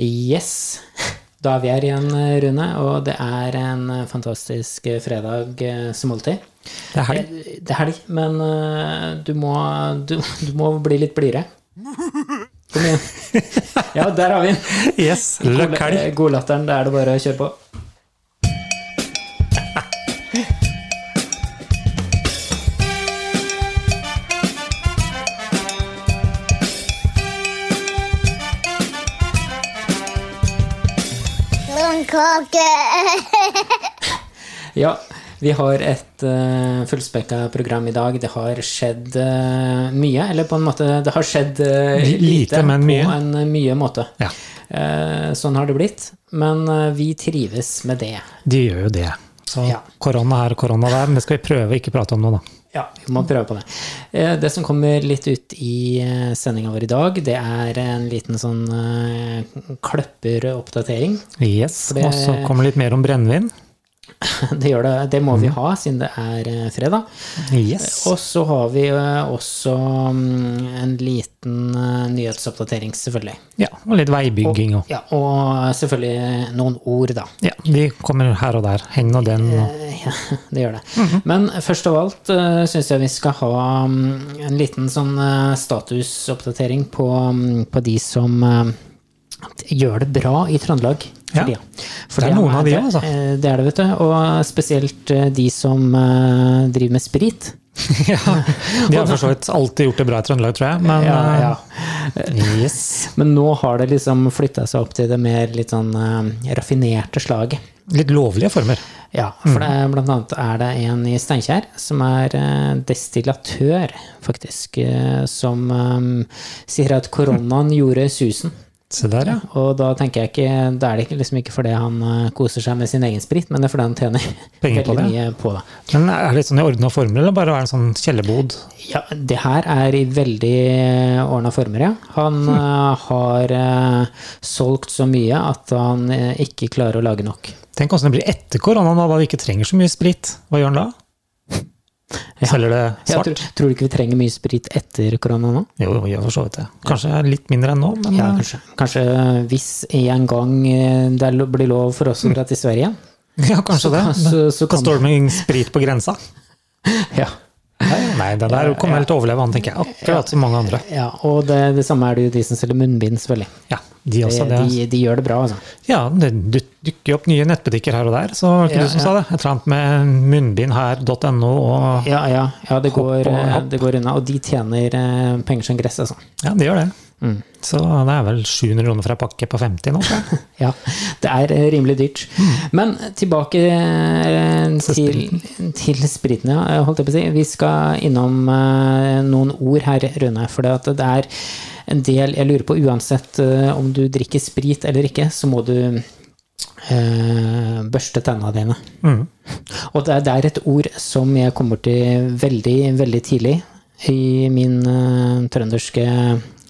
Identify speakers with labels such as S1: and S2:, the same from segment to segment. S1: Yes. Da er vi her igjen, Rune, og det er en fantastisk fredag eh, som alltid.
S2: Det er helg.
S1: Eh, Det er helg, men eh, du må, du, du må bli litt blidere. Kom igjen. Ja, der har vi den.
S2: Yes, løkk
S1: God- eh,
S2: helg.
S1: Godlatteren. Da er det bare å kjøre på.
S3: Blomkake!
S1: Ja, vi har et uh, fullspekka program i dag. Det har skjedd eh, mye, eller på en måte Det har skjedd eh,
S2: Li- lite, men mye.
S1: på en eh, mye måte.
S2: Ja,
S1: Eh, sånn har det blitt. Men eh, vi trives med det.
S2: de gjør jo det. Så
S1: Ja.
S2: korona her og korona der, men det skal vi prøve å ikke prate om nå, da.
S1: Ja, vi må prøve på det. Eh, Det som kommer litt ut i sendinga vår i dag, det er en liten sånn eh, kløpperoppdatering.
S2: Yes,
S1: det-
S2: Og så kommer det litt mer om brennevin.
S1: Det, gjør det, det må
S2: Mm.
S1: vi ha, siden det er eh, fredag.
S2: Yes.
S1: Og så har vi eh, også mm, en liten eh, nyhetsoppdatering, selvfølgelig.
S2: Ja, og litt veibygging òg.
S1: Ja, og eh, selvfølgelig noen ord, da. Eh,
S2: Ja, de kommer her og der. Hen og den. Og.
S1: Ja, det gjør det.
S2: Mhm.
S1: Men først av alt uh, syns jeg vi skal ha mm, en liten sånn eh, statusoppdatering på, mm, på de som eh, gjør det bra i Trøndelag.
S2: Ja.
S1: For de, For
S2: Det er noen av de,
S1: det-
S2: altså.
S1: eh, Det er det, vet du. Og spesielt eh, de som eh, driver med sprit.
S2: ja, de har for så vidt alltid gjort det bra i Trøndelag, tror jeg. Men
S1: Ja, ja.
S2: eh, yes.
S1: eh, Men nå har det liksom flytta seg opp til det mer litt sånn eh, raffinerte slaget.
S2: Litt lovlige former.
S1: Ja,
S2: mm.
S1: for det, er- blant annet er det en i Steinkjer som er eh, destillatør, faktisk, eh, som eh, sier at koronaen gjorde susen.
S2: Se der, ja.
S1: Og da tenker jeg ikke, da er det ikke, liksom ikke fordi han eh, koser seg med sin egen sprit, men det er fordi han tjener
S2: Penger på
S1: veldig
S2: det.
S1: mye på det.
S2: Men er det litt sånn i ordna former, eller bare er det en sånn kjellerbod?
S1: Ja, det her er i veldig eh, ordna former, ja. Han
S2: Hm.
S1: eh, har eh, solgt så mye at han eh, ikke klarer å lage nok.
S2: Tenk hvordan det blir etter koronaen, da, da vi ikke trenger så mye sprit. Hva gjør han da? Selger det
S1: Jeg
S2: svart?
S1: tror, tror du ikke vi trenger mye sprit etter korona nå?
S2: Jo, jo, gjør for så vidt det. Kanskje litt mindre enn nå, men
S1: Ja,
S2: eh,
S1: kanskje. kanskje eh, hvis en gang eh, det er lo- blir lov for oss å dra til Sverige igjen.
S2: ja, kanskje det.
S1: Så, så
S2: Da
S1: kan
S2: står det med sprit på grensa. Hm.
S1: ja.
S2: Nei, nei det der kommer helt til å overleve, han tenker jeg. Akkurat som mange andre.
S1: ja, og det, det samme er det jo de som selger munnbind, selvfølgelig.
S2: Ja, de
S1: De,
S2: også. Det,
S1: de, de gjør det bra, altså.
S2: ja, det du- dukker jo opp nye nettbutikker her og der, så var det ikke
S1: Ja,
S2: du som sa det. Et eller annet med munnbindher.no og
S1: Ja, ja, ja det, går,
S2: og
S1: eh,
S2: hopp.
S1: det går unna. Og de tjener eh, penger som gress, altså.
S2: Ja, de gjør det.
S1: Mm.
S2: Så det er vel 700 kroner for ei pakke på 50 nå, tror jeg.
S1: Ja, det er eh, rimelig dyrt. Men tilbake eh, til, til spriten, ja. eh, Holdt jeg på å si. Vi skal innom eh, noen ord her, Rune. For det, at det er en del Jeg lurer på, uansett eh, om du drikker sprit eller ikke, så må du eh, børste tenna dine. Og det er, det er et ord som jeg kom borti veldig, veldig tidlig i min eh, trønderske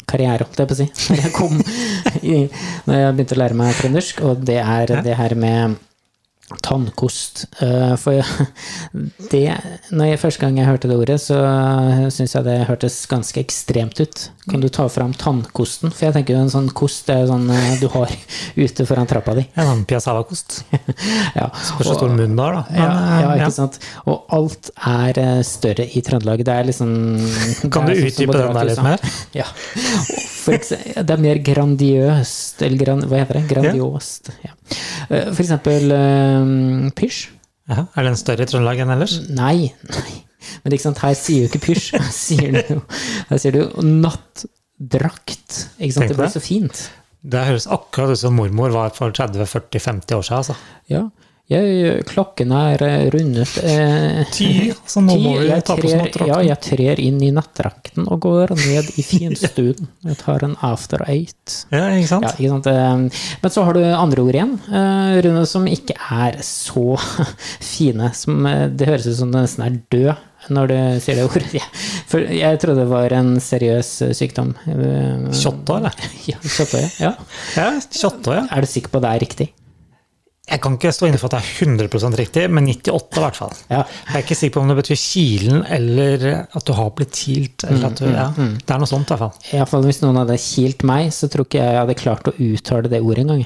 S1: karriere, holdt jeg på å si. Når jeg, kom i, når jeg begynte å lære meg trøndersk, og det er det her med Tannkost. Eh, For jeg- det når jeg, Første gang jeg hørte det ordet, så syns jeg det hørtes ganske ekstremt ut. Kan du ta fram tannkosten? For jeg tenker jo en sånn kost det er jo sånn eh, du har ute foran trappa di.
S2: En sånn piazzava-kost.
S1: Ja,
S2: Spørs hvor stor munnen du har, da.
S1: ja,
S2: Men, eh,
S1: ja,
S2: ja.
S1: ikke sant. Og alt er eh, større i Trøndelag. Det er liksom
S2: Kan
S1: det er sånn
S2: du
S1: som
S2: utdype
S1: på
S2: den der litt
S1: Draghuset.
S2: mer?
S1: Ja. Og For eksempel, det er mer grandiøst, eller gran, hva heter det? Grandiost. Ja. Eh, For eksempel eh, pysj.
S2: Ja, er den større i Trøndelag enn ellers?
S1: Nei, nei. Men ikke sant, her sier jo ikke pysj. Her sier du jo her sier du jo nattdrakt. Ikke sant?
S2: Tenk
S1: Det blir
S2: på det.
S1: så fint.
S2: Det høres akkurat ut som mormor var for 30-40-50 år siden. Altså.
S1: Ja. Jeg, klokken er eh, rundet eh,
S2: Ti, så nå må
S1: Ti,
S2: vi
S1: jeg
S2: ta på oss
S1: trer, ja,
S2: nattdrakten.
S1: jeg trer inn i nattdrakten og går ned i finstuen. Jeg tar en after eight.
S2: Ja, ikke sant?
S1: Ja, ikke sant? Eh, Men så har du andre ord igjen, eh, Rune, som ikke er så fine. Som, eh, det høres ut som du nesten er død når du sier det ordet. Ja. For jeg trodde det var en seriøs eh, sykdom. Eh,
S2: Kjøttår, det.
S1: Ja, kjøttøye. Ja.
S2: Ja, kjøttår, ja.
S1: Er du sikker på det er riktig?
S2: Jeg kan ikke stå inne for at det er 100 riktig, men 98 i hvert fall.
S1: Ja.
S2: Jeg er ikke sikker på om det betyr kilen, eller at du har blitt kilt. eller at du, ja, Det er noe sånt, i hvert fall.
S1: Iallfall hvis noen hadde kilt meg, så tror ikke jeg jeg hadde klart å uttale det ordet engang.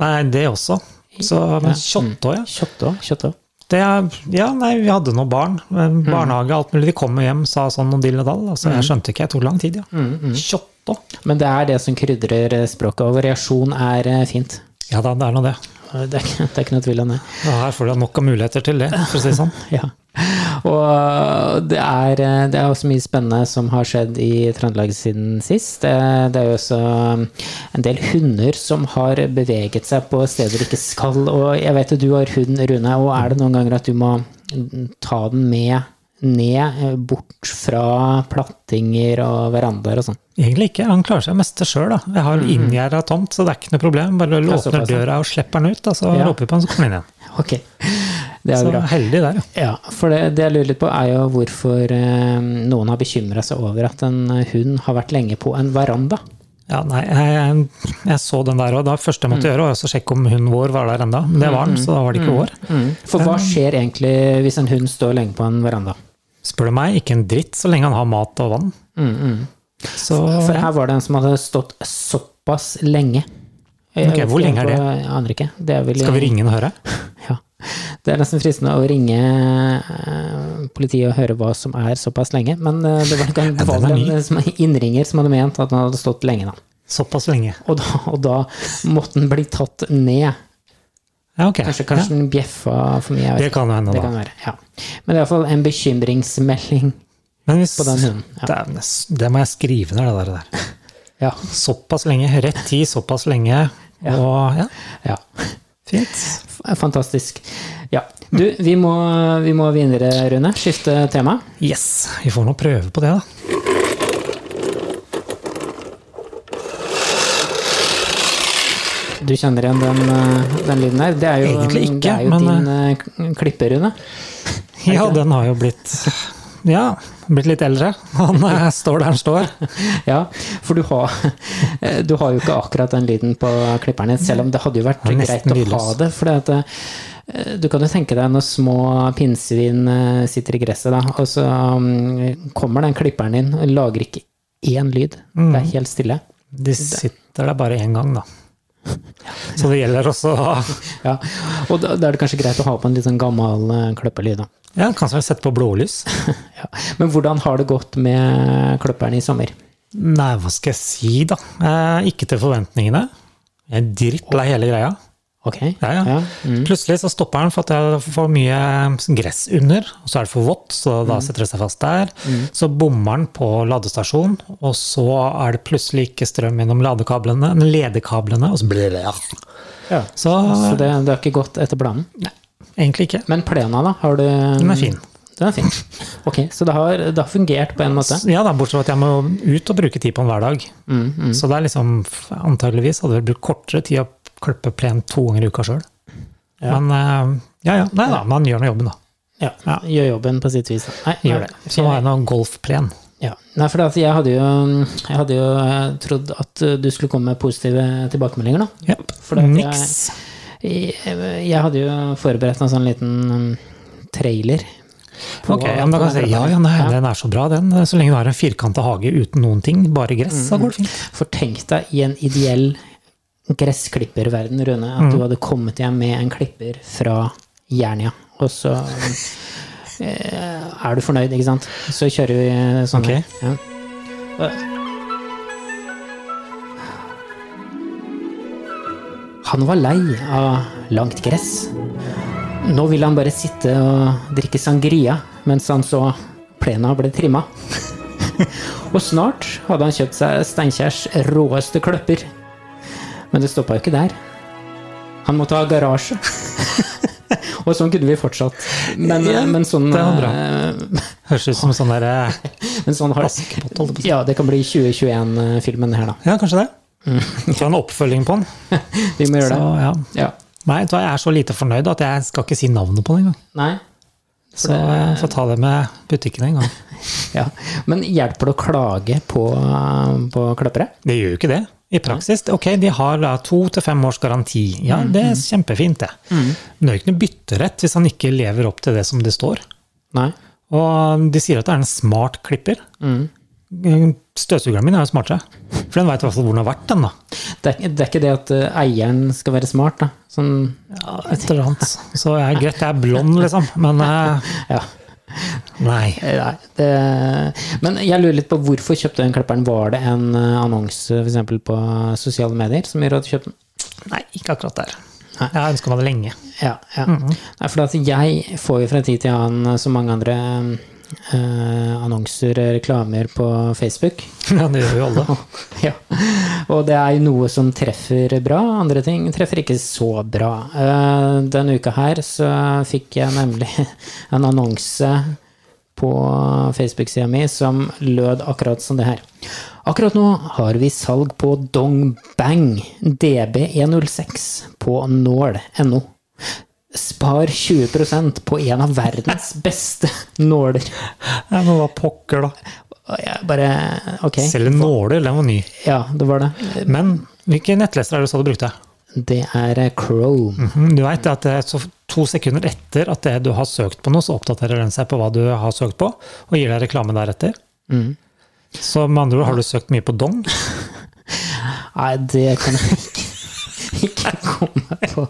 S2: Nei, det også. Så, men kjøttå, ja. Mm.
S1: Kjøttå, kjøttå.
S2: Det er, ja, nei, vi hadde noen barn. men Barnehage, alt mulig. De kom jo hjem, sa sånn og dill og dall. Altså, jeg skjønte ikke, jeg tok lang tid, ja. Kjøttå.
S1: Men det er det som krydrer eh, språket, og variasjon er eh, fint.
S2: Ja da, det er nå det.
S1: Det er, ikke- det er ikke noe tvil om det.
S2: Og her får du nok av muligheter til det, for å si det sånn.
S1: Ja. Og det er, eh, det er også mye spennende som har skjedd i Trøndelag siden sist. Eh, Det er jo også eh, en del hunder som har beveget seg på steder de ikke skal. Og jeg vet at du har hund, Rune, og er det noen ganger at du må ta den med ned, eh, bort fra plattinger og verandaer og sånn?
S2: Egentlig ikke. Han klarer seg mest sjøl. Jeg har inngjerda tomt, så det er ikke noe problem. Bare åpner
S1: såpass, Mhm. ja.
S2: døra og slipper han ut, da, så
S1: Ja.
S2: roper vi på han, så kommer han igjen.
S1: Ok, det er
S2: Så
S1: bra.
S2: heldig der, ja.
S1: Ja, for det, det jeg lurer litt på er jo hvorfor eh, noen har bekymra seg over at en eh, hund har vært lenge på en veranda.
S2: Ja, nei, jeg, jeg så den der òg. Det første jeg måtte
S1: Mm.
S2: gjøre, var også å sjekke om hunden vår var der enda. Men det var den, så da var det ikke vår.
S1: For
S2: Mm.
S1: hva skjer egentlig hvis en hund står lenge på en veranda?
S2: Spør du meg, ikke en dritt så lenge han har mat og vann. mm. Så
S1: For her var det en som hadde stått såpass lenge. Jeg
S2: Ok,
S1: vet
S2: hvor
S1: ikke
S2: lenge er det?
S1: Jeg aner ikke. Det er vel,
S2: skal vi ringe han og høre.
S1: Ja. Det er nesten fristende å ringe eh, politiet og høre hva som er såpass lenge, men eh, det var, ikke- det var
S2: den er
S1: vel
S2: ny.
S1: en som- innringer som hadde ment at han hadde stått lenge, da.
S2: Såpass lenge.
S1: Og da, og da måtte den bli tatt ned.
S2: Ja, ok.
S1: Kanskje, kanskje den bjeffa for mye. Jeg vet
S2: Det kan jo hende,
S1: ikke. det
S2: da.
S1: kan være, ja. Men det er iallfall en bekymringsmelding.
S2: Ja. Men hvis,
S1: på den hunden, ja.
S2: det, er nes- det må jeg skrive ned, det der. det der.
S1: Ja.
S2: Såpass lenge. Rett tid, såpass lenge. Og ja,
S1: ja.
S2: fint.
S1: F- Fantastisk. Ja. Du, vi må, vi må videre, Rune. Skifte tema.
S2: Yes. Vi får nå prøve på det, da.
S1: Du kjenner igjen den, eh, den lyden her. Det er jo,
S2: Egentlig ikke,
S1: det er jo
S2: men,
S1: din eh, k- klipper, Rune.
S2: Ja, den har jo blitt Ja, blitt litt eldre. Han eh, står der han står.
S1: Ja, for du har, eh, du har jo ikke akkurat den lyden på klipperen din, selv om det hadde jo vært
S2: Det er
S1: greit
S2: nesten
S1: å ha
S2: lydløs.
S1: det. For du kan jo tenke deg når små pinnsvin eh, sitter i gresset, da, og så mm, kommer den klipperen din og lager ikke én lyd. Det
S2: Mm.
S1: er helt stille.
S2: De sitter der bare én gang, da. Så det gjelder også å
S1: Ja. Og da, da er det kanskje greit å ha på en litt sånn gammel eh, kløpperlyd, da.
S2: Ja, kanskje sette på blålys.
S1: Ja. Men hvordan har det gått med kløpperen i sommer?
S2: Nei, hva skal jeg si, da? Eh, ikke til forventningene. Jeg er drittlei hele greia.
S1: Ok?
S2: Ja, ja. Plutselig så stopper den for at det er for mye gress under, og så er det for vått, så da setter det seg fast der. Så bommer den på ladestasjonen, og så er det plutselig ikke strøm gjennom ladekablene, men ledekablene, og så blir det ja.
S1: Ja.
S2: Så
S1: Så det, det har ikke gått etter planen?
S2: egentlig ikke.
S1: Men plena, da? Har du Den
S2: er fin.
S1: Den er fin. Ok, Så det har, det har fungert på en måte?
S2: Ja da, bortsett fra at jeg må ut og bruke tid på den hver dag. Så det er liksom, antageligvis hadde jeg brukt kortere tid å klippe plen to ganger i uka sjøl. Men eh, ja ja, nei da, man gjør nå jobben, da.
S1: Ja. Gjør jobben på sitt vis. da. Nei,
S2: Gjør det. Så har jeg nå golfplen.
S1: Ja. Nei, for det at jeg hadde jo, jeg hadde jo eh, trodd at eh, du skulle komme med positive tilbakemeldinger, da.
S2: Yep.
S1: For det at jeg-
S2: Niks.
S1: Jeg, eh, jeg hadde jo forberedt en sånn liten mm, trailer. på-
S2: Ok, ja, men da
S1: på
S2: kan
S1: den
S2: jeg si ja,
S1: grønne.
S2: ja, nei, den er så bra, den. Så lenge du har en firkanta hage uten noen ting, bare gress, så går det fint.
S1: For tenk deg i en ideell gressklipperverden, Rune, at du hadde kommet hjem med en klipper fra Jernia, og så eh, er du fornøyd, ikke sant? Så kjører vi sånn
S2: Ok.
S1: her. Ja. Han var lei av langt gress. Nå ville han bare sitte og drikke sangria mens han så plena ble trimma. og snart hadde han kjøpt seg Steinkjers råeste kløpper. Men det stoppa jo ikke der. Han måtte ha garasje. og sånn kunne vi fortsatt. Men,
S2: Ja,
S1: men, sånn,
S2: det var
S1: eh,
S2: Høres ut som sånn der eh,
S1: men sånn har
S2: Askepott, holdt jeg på altså. å si.
S1: Ja, det kan bli 2021-filmen her, da.
S2: Ja, kanskje det. Få Mm. en oppfølging på den.
S1: Vi må gjøre
S2: Så,
S1: det.
S2: ja.
S1: Ja.
S2: Nei, vet du hva, jeg er så lite fornøyd at jeg skal ikke si navnet på den engang.
S1: Nei?
S2: Så jeg får ta det med butikken en gang.
S1: Ja. Men hjelper det å klage på, på kløppere?
S2: Det gjør jo ikke det. I praksis. Ok, de har da to til fem års garanti. Ja, det er kjempefint, det. Men det er jo ikke noe bytterett hvis han ikke lever opp til det som det står.
S1: Nei.
S2: Og um, de sier at det er en smart klipper. Støvsugeren min er jo smartere, for den veit i hvert fall hvor den har vært, den, da.
S1: Det er, det er ikke det at eh, eieren skal være smart, da. Sånn,
S2: Et eller annet. Så jeg er greit, jeg er blond, liksom. Men eh,
S1: ja.
S2: nei.
S1: Eh, Nei, det, men jeg lurer litt på hvorfor kjøpte den klipperen. Var det en eh, annonse for eksempel, på sosiale medier som gjorde at du kjøpte den?
S2: Nei, ikke akkurat der. Jeg har ønska meg det lenge.
S1: Ja, ja. Nei, for at jeg får jo fra tid til annen, eh, som mange andre, eh, annonser, eh, reklamer på Facebook.
S2: Ja, det gjør vi alle.
S1: ja. Og det er jo noe som treffer bra, andre ting treffer ikke så bra. Eh, Denne uka her så fikk jeg nemlig en annonse på Facebook-sida mi som lød akkurat som det her. Akkurat nå har vi salg på Dongbang DB106 på nål.no. Spar 20 på en av verdens beste nåler.
S2: Ja, men hva pokker, da?
S1: Og jeg bare Ok,
S2: Selv en nåler, den var ny.
S1: ja, det var det.
S2: Men hvilke nettleser er det du sa du brukte?
S1: Det er eh, Chrome.
S2: Mhm, Du vet at det er så to sekunder etter at det du har søkt på noe, så oppdaterer den seg på hva du har søkt på, og gir deg reklame deretter. Mm. Så med andre ord, har du søkt mye på dong?
S1: Nei, det kan jeg ikke, ikke komme på.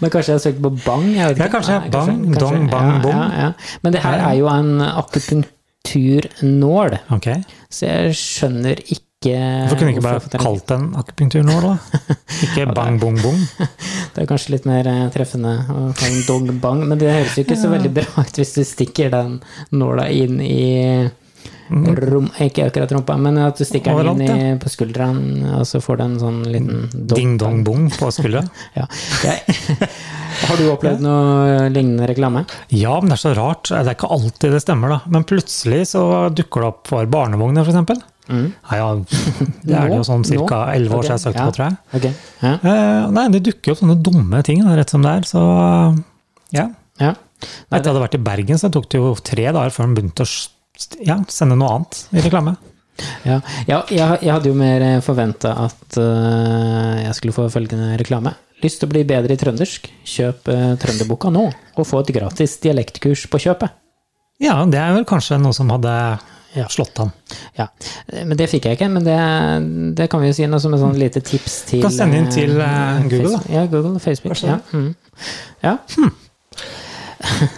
S1: Men kanskje jeg har søkt på bang? Jeg vet
S2: Ja,
S1: ikke.
S2: kanskje.
S1: Nei,
S2: Bang, dong, bang,
S1: ja,
S2: bong.
S1: Ja, ja. Men det her er jo en akupunkturnål,
S2: Ok.
S1: så jeg skjønner ikke
S2: Hvorfor kunne du ikke bare
S1: hvorfor-
S2: kalt den akupunktur nå, da? Ikke bang, bong, bong.
S1: Det er kanskje litt mer eh, treffende å ha en dog bang, men det høres jo ikke så veldig bra ut hvis du stikker den nåla inn i rom, Ikke akkurat rumpa, men at du stikker den inn i,
S2: Mm. Overalt, Mm.
S1: på skulderen, og så får du en sånn liten dog
S2: Ding, dong, bong på skulderen.
S1: Ja. Jeg, har du opplevd noe eh, lignende reklame?
S2: Ja, men det er så rart. Det er ikke alltid det stemmer, da. Men plutselig så dukker det opp for barnevogner, for eksempel. Nei, ja, det er det jo sånn ca. elleve år siden jeg søkte på, tror jeg.
S1: Ok, ja,
S2: Eh, nei, det dukker jo opp sånne dumme ting da, rett som det er, så ja.
S1: ja.
S2: Etter jeg hadde vært i Bergen, så tok det jo tre dager før den begynte å s- ja, sende noe annet i reklame.
S1: ja. ja jeg, jeg hadde jo mer forventa at øh, jeg skulle få følgende reklame. Lyst til å bli bedre i trøndersk? Kjøp øh, trønderboka nå, og få et gratis dialektkurs på kjøpet.
S2: Ja, det er vel kanskje noe som hadde slått an.
S1: Ja, Men det fikk jeg ikke, men det, det kan vi jo si noe som et sånn lite tips til
S2: kan sende inn til,
S1: eh,
S2: eh, Google, da.
S1: Facebook. Ja, Google, Facebook.
S2: så
S1: Ja. Mm. ja.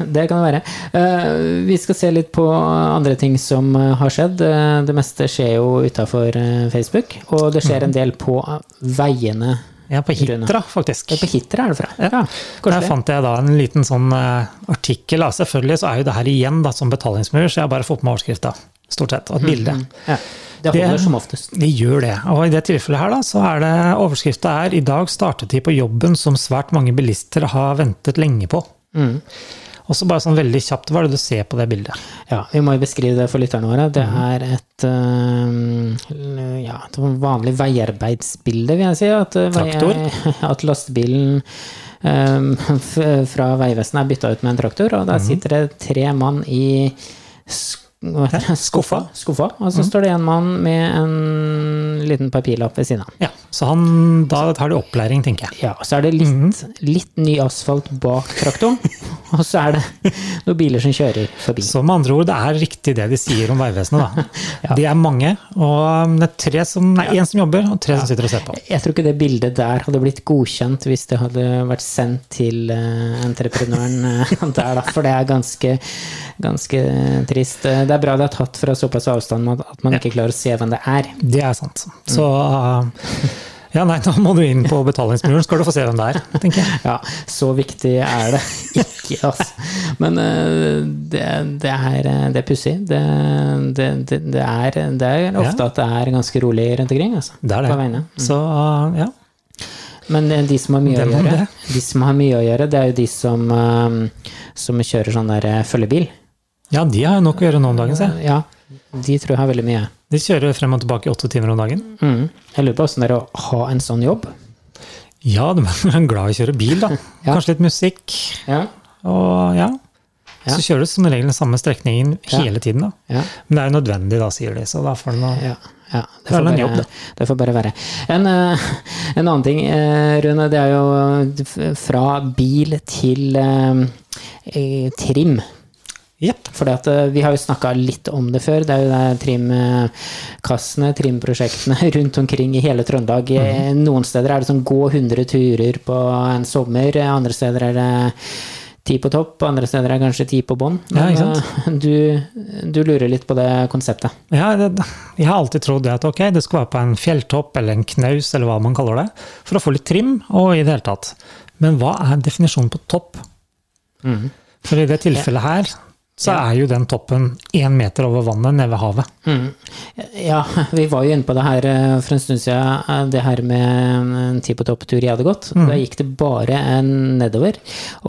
S1: Det kan det være. Eh, vi skal se litt på andre ting som eh, har skjedd. Eh, det meste skjer jo utafor Facebook, og det
S2: Mm.
S1: skjer en del på eh, veiene.
S2: Ja, på
S1: Rune.
S2: Hitra, faktisk.
S1: På Hitra er det fra.
S2: Ja. Der
S1: koselig.
S2: fant jeg da en liten sånn eh, artikkel. Da. Selvfølgelig så er jo det her igjen da, som betalingsmur, så jeg har bare fått med overskrifta, stort sett,
S1: Mhm.
S2: og et bilde.
S1: Ja. Det
S2: Det-
S1: holder som oftest.
S2: De gjør det. Og i det tilfellet her, da, så er det overskrifta er 'I dag startet de på jobben som svært mange bilister har ventet lenge på'.
S1: Mhm.
S2: Og så bare sånn veldig kjapt, hva er det du ser på det bildet?
S1: Ja, vi må jo beskrive det for lytterne våre. Det er et eh, ja, et vanlig veiarbeidsbilde, vil jeg si. At, eh, vei- at lastebilen eh, f- fra Vegvesenet er bytta ut med en traktor, og der sitter det tre mann i sk hva heter det? skuffa. Mhm. skuffa. Og så står det en mann med en liten papirlapp ved siden av.
S2: Ja, Så han, da har de opplæring, tenker jeg.
S1: Ja, Mhm. og så er det litt, litt ny asfalt bak traktoren, og så er det noen biler som kjører forbi.
S2: Så med andre ord, det er riktig det de sier om Vegvesenet, da. De er mange, og um, det er tre som, nei, én som jobber, og tre som sitter og ser på.
S1: Jeg tror ikke det bildet der hadde blitt godkjent hvis det hadde vært sendt til eh, entreprenøren eh, der, da, for det er ganske, ganske trist. Eh, Det er bra det er tatt fra såpass avstand at at man ikke klarer å se hvem det er.
S2: Det er sant. Så uh, ja, nei, da må du inn på betalingsmuren, skal du få se hvem det er, tenker jeg.
S1: Ja, så viktig er det ikke, altså. Men eh, det, det er, eh, det er pussig. Det, det, det, det, er, det er ofte at det er ganske rolig rundt omkring, altså.
S2: Det
S1: På
S2: er det.
S1: veiene.
S2: Så uh, ja.
S1: Men eh, de som har mye å
S2: Det må
S1: gjøre,
S2: det.
S1: de som har mye å gjøre, det er jo de som, eh, som kjører sånn der eh, følgebil.
S2: ja, de har jo nok å gjøre nå om dagen, se.
S1: Ja, de tror jeg har veldig mye.
S2: De kjører frem og tilbake i åtte timer om dagen.
S1: Mm. Jeg lurer på åssen det er å ha en sånn jobb.
S2: Ja, de er glad i å kjøre bil, da.
S1: Ja.
S2: Kanskje litt musikk
S1: Ja.
S2: og ja.
S1: Ja.
S2: Så kjører du som regel den samme strekningen hele tiden. da.
S1: Ja.
S2: Men det er jo nødvendig, da, sier de. Så da får du noe
S1: Ja, ja. Det, får
S2: Det er vel en
S1: bare,
S2: jobb, da.
S1: det får bare være. En, eh, en annen ting, eh, Rune, det er jo f- fra bil til eh, eh, trim.
S2: Jepp.
S1: For eh, vi har jo snakka litt om det før. Det er jo det trimkassene, trimprosjektene rundt omkring i hele Trøndelag. Eh,
S2: Mhm.
S1: Noen steder er det sånn gå 100 turer på en sommer, eh, andre steder er det ti på topp, andre steder er det kanskje ti på bånn.
S2: Ja, ikke sant?
S1: eh, du, du lurer litt på det konseptet.
S2: Ja, det, jeg har alltid trodd det at ok, det skal være på en fjelltopp eller en knaus, eller hva man kaller det, for å få litt trim og i det hele tatt. Men hva er definisjonen på topp? Mhm. For i det tilfellet her, så er jo den toppen én meter over vannet nede ved havet.
S1: Mm. Ja, vi var jo inne på det her eh, for en stund siden, eh, det her med en ti på topp-tur jeg hadde gått.
S2: Mm.
S1: Da gikk det bare en nedover.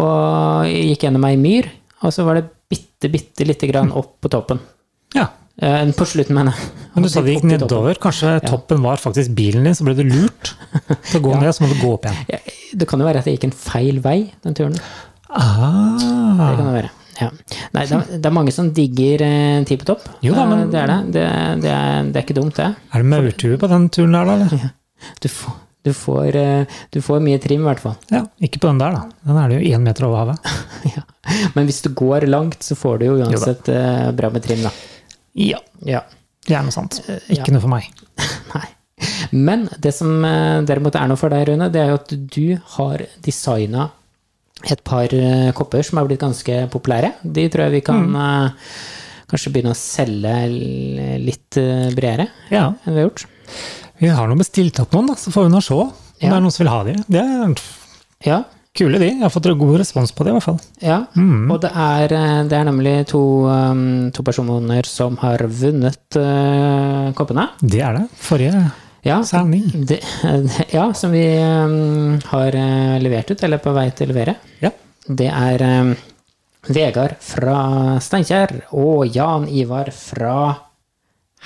S1: Og jeg gikk gjennom ei myr, og så var det bitte, bitte lite grann opp på toppen.
S2: Ja,
S1: Eh, På slutten, mener jeg.
S2: Men du sa det gikk
S1: Opp i toppen.
S2: nedover. Kanskje toppen var faktisk bilen din, så ble du lurt til å gå ned, så må du gå opp igjen.
S1: Ja, Det kan jo være at jeg gikk en feil vei den turen. Det
S2: Ah.
S1: kan det være. Ja. Nei, det er, det er mange som digger eh, ti på topp.
S2: Jo da,
S1: Eh,
S2: men-
S1: Det er det. Det, det, er, det er ikke dumt, det.
S2: Er det maurtue på den turen der, da? Eller?
S1: Du får, du får, eh, du får mye trim, i hvert fall.
S2: Ja, ikke på den der, da. Den er det jo én meter over havet.
S1: Ja. Men hvis du går langt, så får du jo uansett eh, bra med trim, da.
S2: Ja,
S1: Ja.
S2: det er noe sant. Ikke
S1: Ja.
S2: noe for meg.
S1: Nei. Men det som eh, derimot er noe for deg, Rune, det er jo at du har designa et par eh, kopper som er blitt ganske populære. De tror jeg vi kan eh, kanskje begynne å selge l- litt eh, bredere
S2: Ja.
S1: enn vi har gjort.
S2: Vi har nå bestilt opp noen, da, så får vi nå se om
S1: Ja.
S2: det er noen som vil ha de. Det er
S1: Ja,
S2: kule, de. Jeg har fått god respons på det, i hvert fall.
S1: Ja, og det er, eh, det er nemlig to, eh, to personer som har vunnet eh, koppene.
S2: Det er det. Forrige
S1: Ja,
S2: sending.
S1: Det, ja, som vi eh, har eh, levert ut, eller er på vei til å levere.
S2: Ja.
S1: Det er eh, Vegard fra Steinkjer og Jan Ivar fra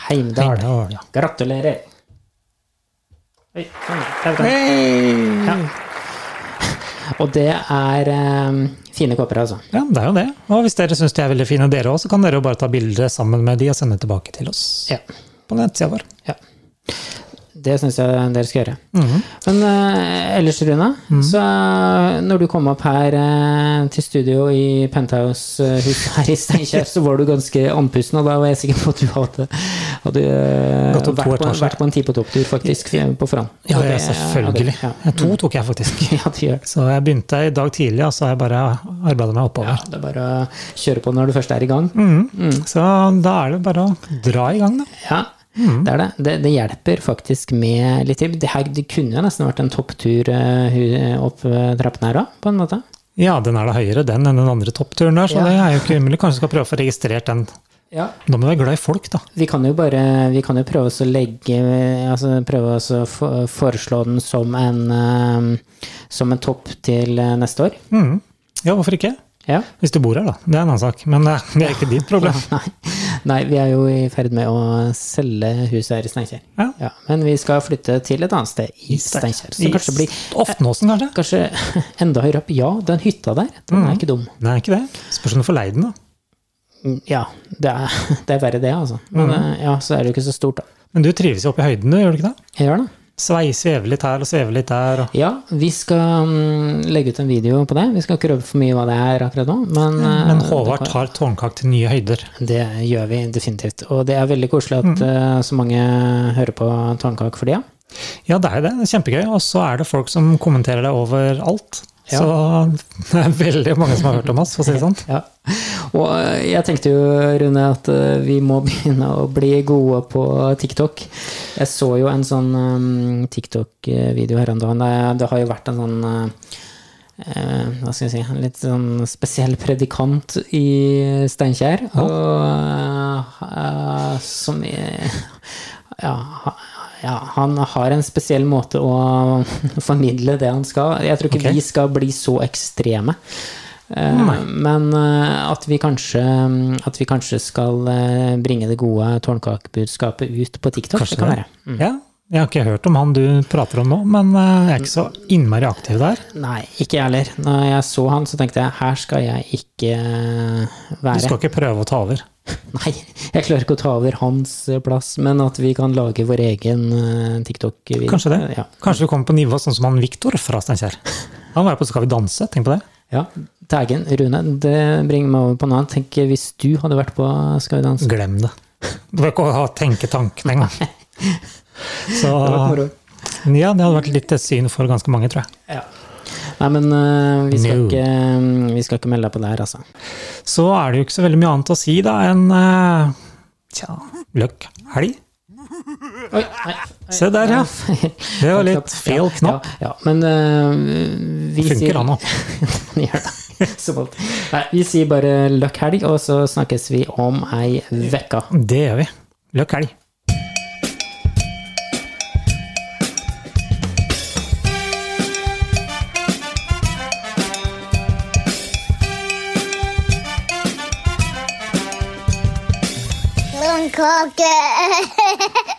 S1: Heimdal.
S2: Heimdal, ja.
S1: Gratulerer! Oi, sånn, der var den.
S2: Hey! ja.
S1: Og det er eh, fine kopper, altså.
S2: Ja, det er jo det. Og hvis dere syns de er veldig fine, dere òg, så kan dere jo bare ta bilde sammen med de og sende tilbake til oss
S1: Ja.
S2: på nettsida vår.
S1: ja. Det syns jeg dere skal gjøre. Men eh, ellers, Rune,
S2: Mm.
S1: så eh, når du kom opp her eh, til studio i Penthouse-huset her i Steinkjer, så var du ganske andpusten, og da var jeg sikker på at du hadde, hadde eh,
S2: Gått opp to
S1: vært, på,
S2: etasjer.
S1: vært på en ti på topp-tur, faktisk, på Fran.
S2: Ja,
S1: Og
S2: det,
S1: det-
S2: Eh, selvfølgelig.
S1: Ja, Mhm.
S2: To tok jeg faktisk.
S1: det, ja, det gjør det.
S2: Så jeg begynte i dag tidlig, og så har jeg bare arbeidet meg
S1: Ja,
S2: oppover.
S1: det er bare å kjøre på når du først er i gang.
S2: Mhm. Så da er det bare å dra i gang, da.
S1: Ja,
S2: Mm.
S1: det er det. det. Det hjelper faktisk med litt til. Det, her, det kunne jo nesten vært en topptur eh, hu- opp eh, trappene her òg, på en måte.
S2: Ja, den er da høyere, den, enn den andre toppturen der, så
S1: Ja.
S2: det er jo ikke umulig. Kanskje du skal prøve å få registrert den.
S1: Ja.
S2: Da må du være glad i folk, da.
S1: Vi kan jo bare vi kan jo prøve oss å legge altså Prøve oss å fo- foreslå den som en, eh, som en topp til eh, neste år.
S2: Mhm. Ja, hvorfor ikke?
S1: Ja.
S2: Hvis du bor her, da. Det er en annen sak. Men eh, det er ikke ditt problem.
S1: Nei. Nei, vi er jo i ferd med å selge huset her i Steinkjer.
S2: Ja.
S1: Ja, men vi skal flytte til et annet sted i Steinkjer. Så kanskje det blir
S2: Oftenåsen, kanskje?
S1: kanskje enda høyere opp. Ja, den hytta der, den er ikke dum.
S2: Nei, ikke det. Spørs om du får leid den, da.
S1: Ja, det er, det er verre det, altså. Men eh, ja, så er det jo ikke så stort, da.
S2: Men du trives jo oppe i høyden, du, gjør du ikke det?
S1: Jeg gjør det.
S2: Svei, sveve litt her og sveve litt der. Og...
S1: Ja, vi skal mm, legge ut en video på det. Vi skal ikke røpe for mye hva det er akkurat nå, men, eh,
S2: Men Håvard tar tårnkak til nye høyder.
S1: det gjør vi definitivt. Og det er veldig koselig
S2: Mm.
S1: at eh, så mange hører på Tårnkak for tida.
S2: Ja, det er jo det. Det er kjempegøy. Og så er det folk som kommenterer det overalt.
S1: Ja.
S2: Så det er veldig mange som har hørt om oss, for å si det sånn.
S1: Ja. Og eh, jeg tenkte jo, Rune, at eh, vi må begynne å bli gode på TikTok. Jeg så jo en sånn eh, TikTok-video her om dagen. Det- Det har jo vært en sånn eh, eh, hva skal jeg si, en litt sånn spesiell predikant i Steinkjer. Og eh, som eh, ja, ha- ja, han har en spesiell måte å formidle det han skal. Jeg tror ikke
S2: Ok.
S1: vi skal bli så ekstreme. Eh, Men eh, at vi kanskje, mm, at vi kanskje skal eh, bringe det gode tårnkakebudskapet ut på TikTok, det kan være.
S2: Ja, Jeg har ikke hørt om han du prater om nå, men eh, jeg er ikke så innmari aktiv der.
S1: Nei, ikke jeg heller. Når jeg så han, så tenkte jeg her skal jeg ikke eh,
S2: Du
S1: være.
S2: skal ikke prøve å ta over.
S1: Nei, jeg klarer ikke å ta over hans plass, men at vi kan lage vår egen eh, TikTok-video.
S2: Kanskje det.
S1: Ja.
S2: Kanskje du kommer på nivå sånn som han Viktor fra Steinkjer. Han var jo på Skal vi danse, tenk på det.
S1: ja. Taggen, Rune, det bringer meg over på noe annet. Tenk eh, hvis du hadde vært på Skal vi danse.
S2: Glem det. Du bør ikke ha tenke tankene engang. Så
S1: moro.
S2: ja, det hadde vært litt et syn for ganske mange, tror jeg.
S1: Ja. Nei, men eh, vi, skal
S2: No.
S1: ikke, mm, vi skal ikke melde deg på der, altså.
S2: Så er det jo ikke så veldig mye annet å si da enn eh, tja, løkk helg.
S1: Oi, nei.
S2: Se der, ja. Det var litt feil knapp.
S1: Ja, ja. Men eh, vi
S2: Funker
S1: sier
S2: han nå?
S1: Den gjør det. Som alltid. Nei, vi sier bare løkk helg, og så snakkes vi om ei vekka.
S2: Det gjør vi. Løkk helg.
S3: Blomkake.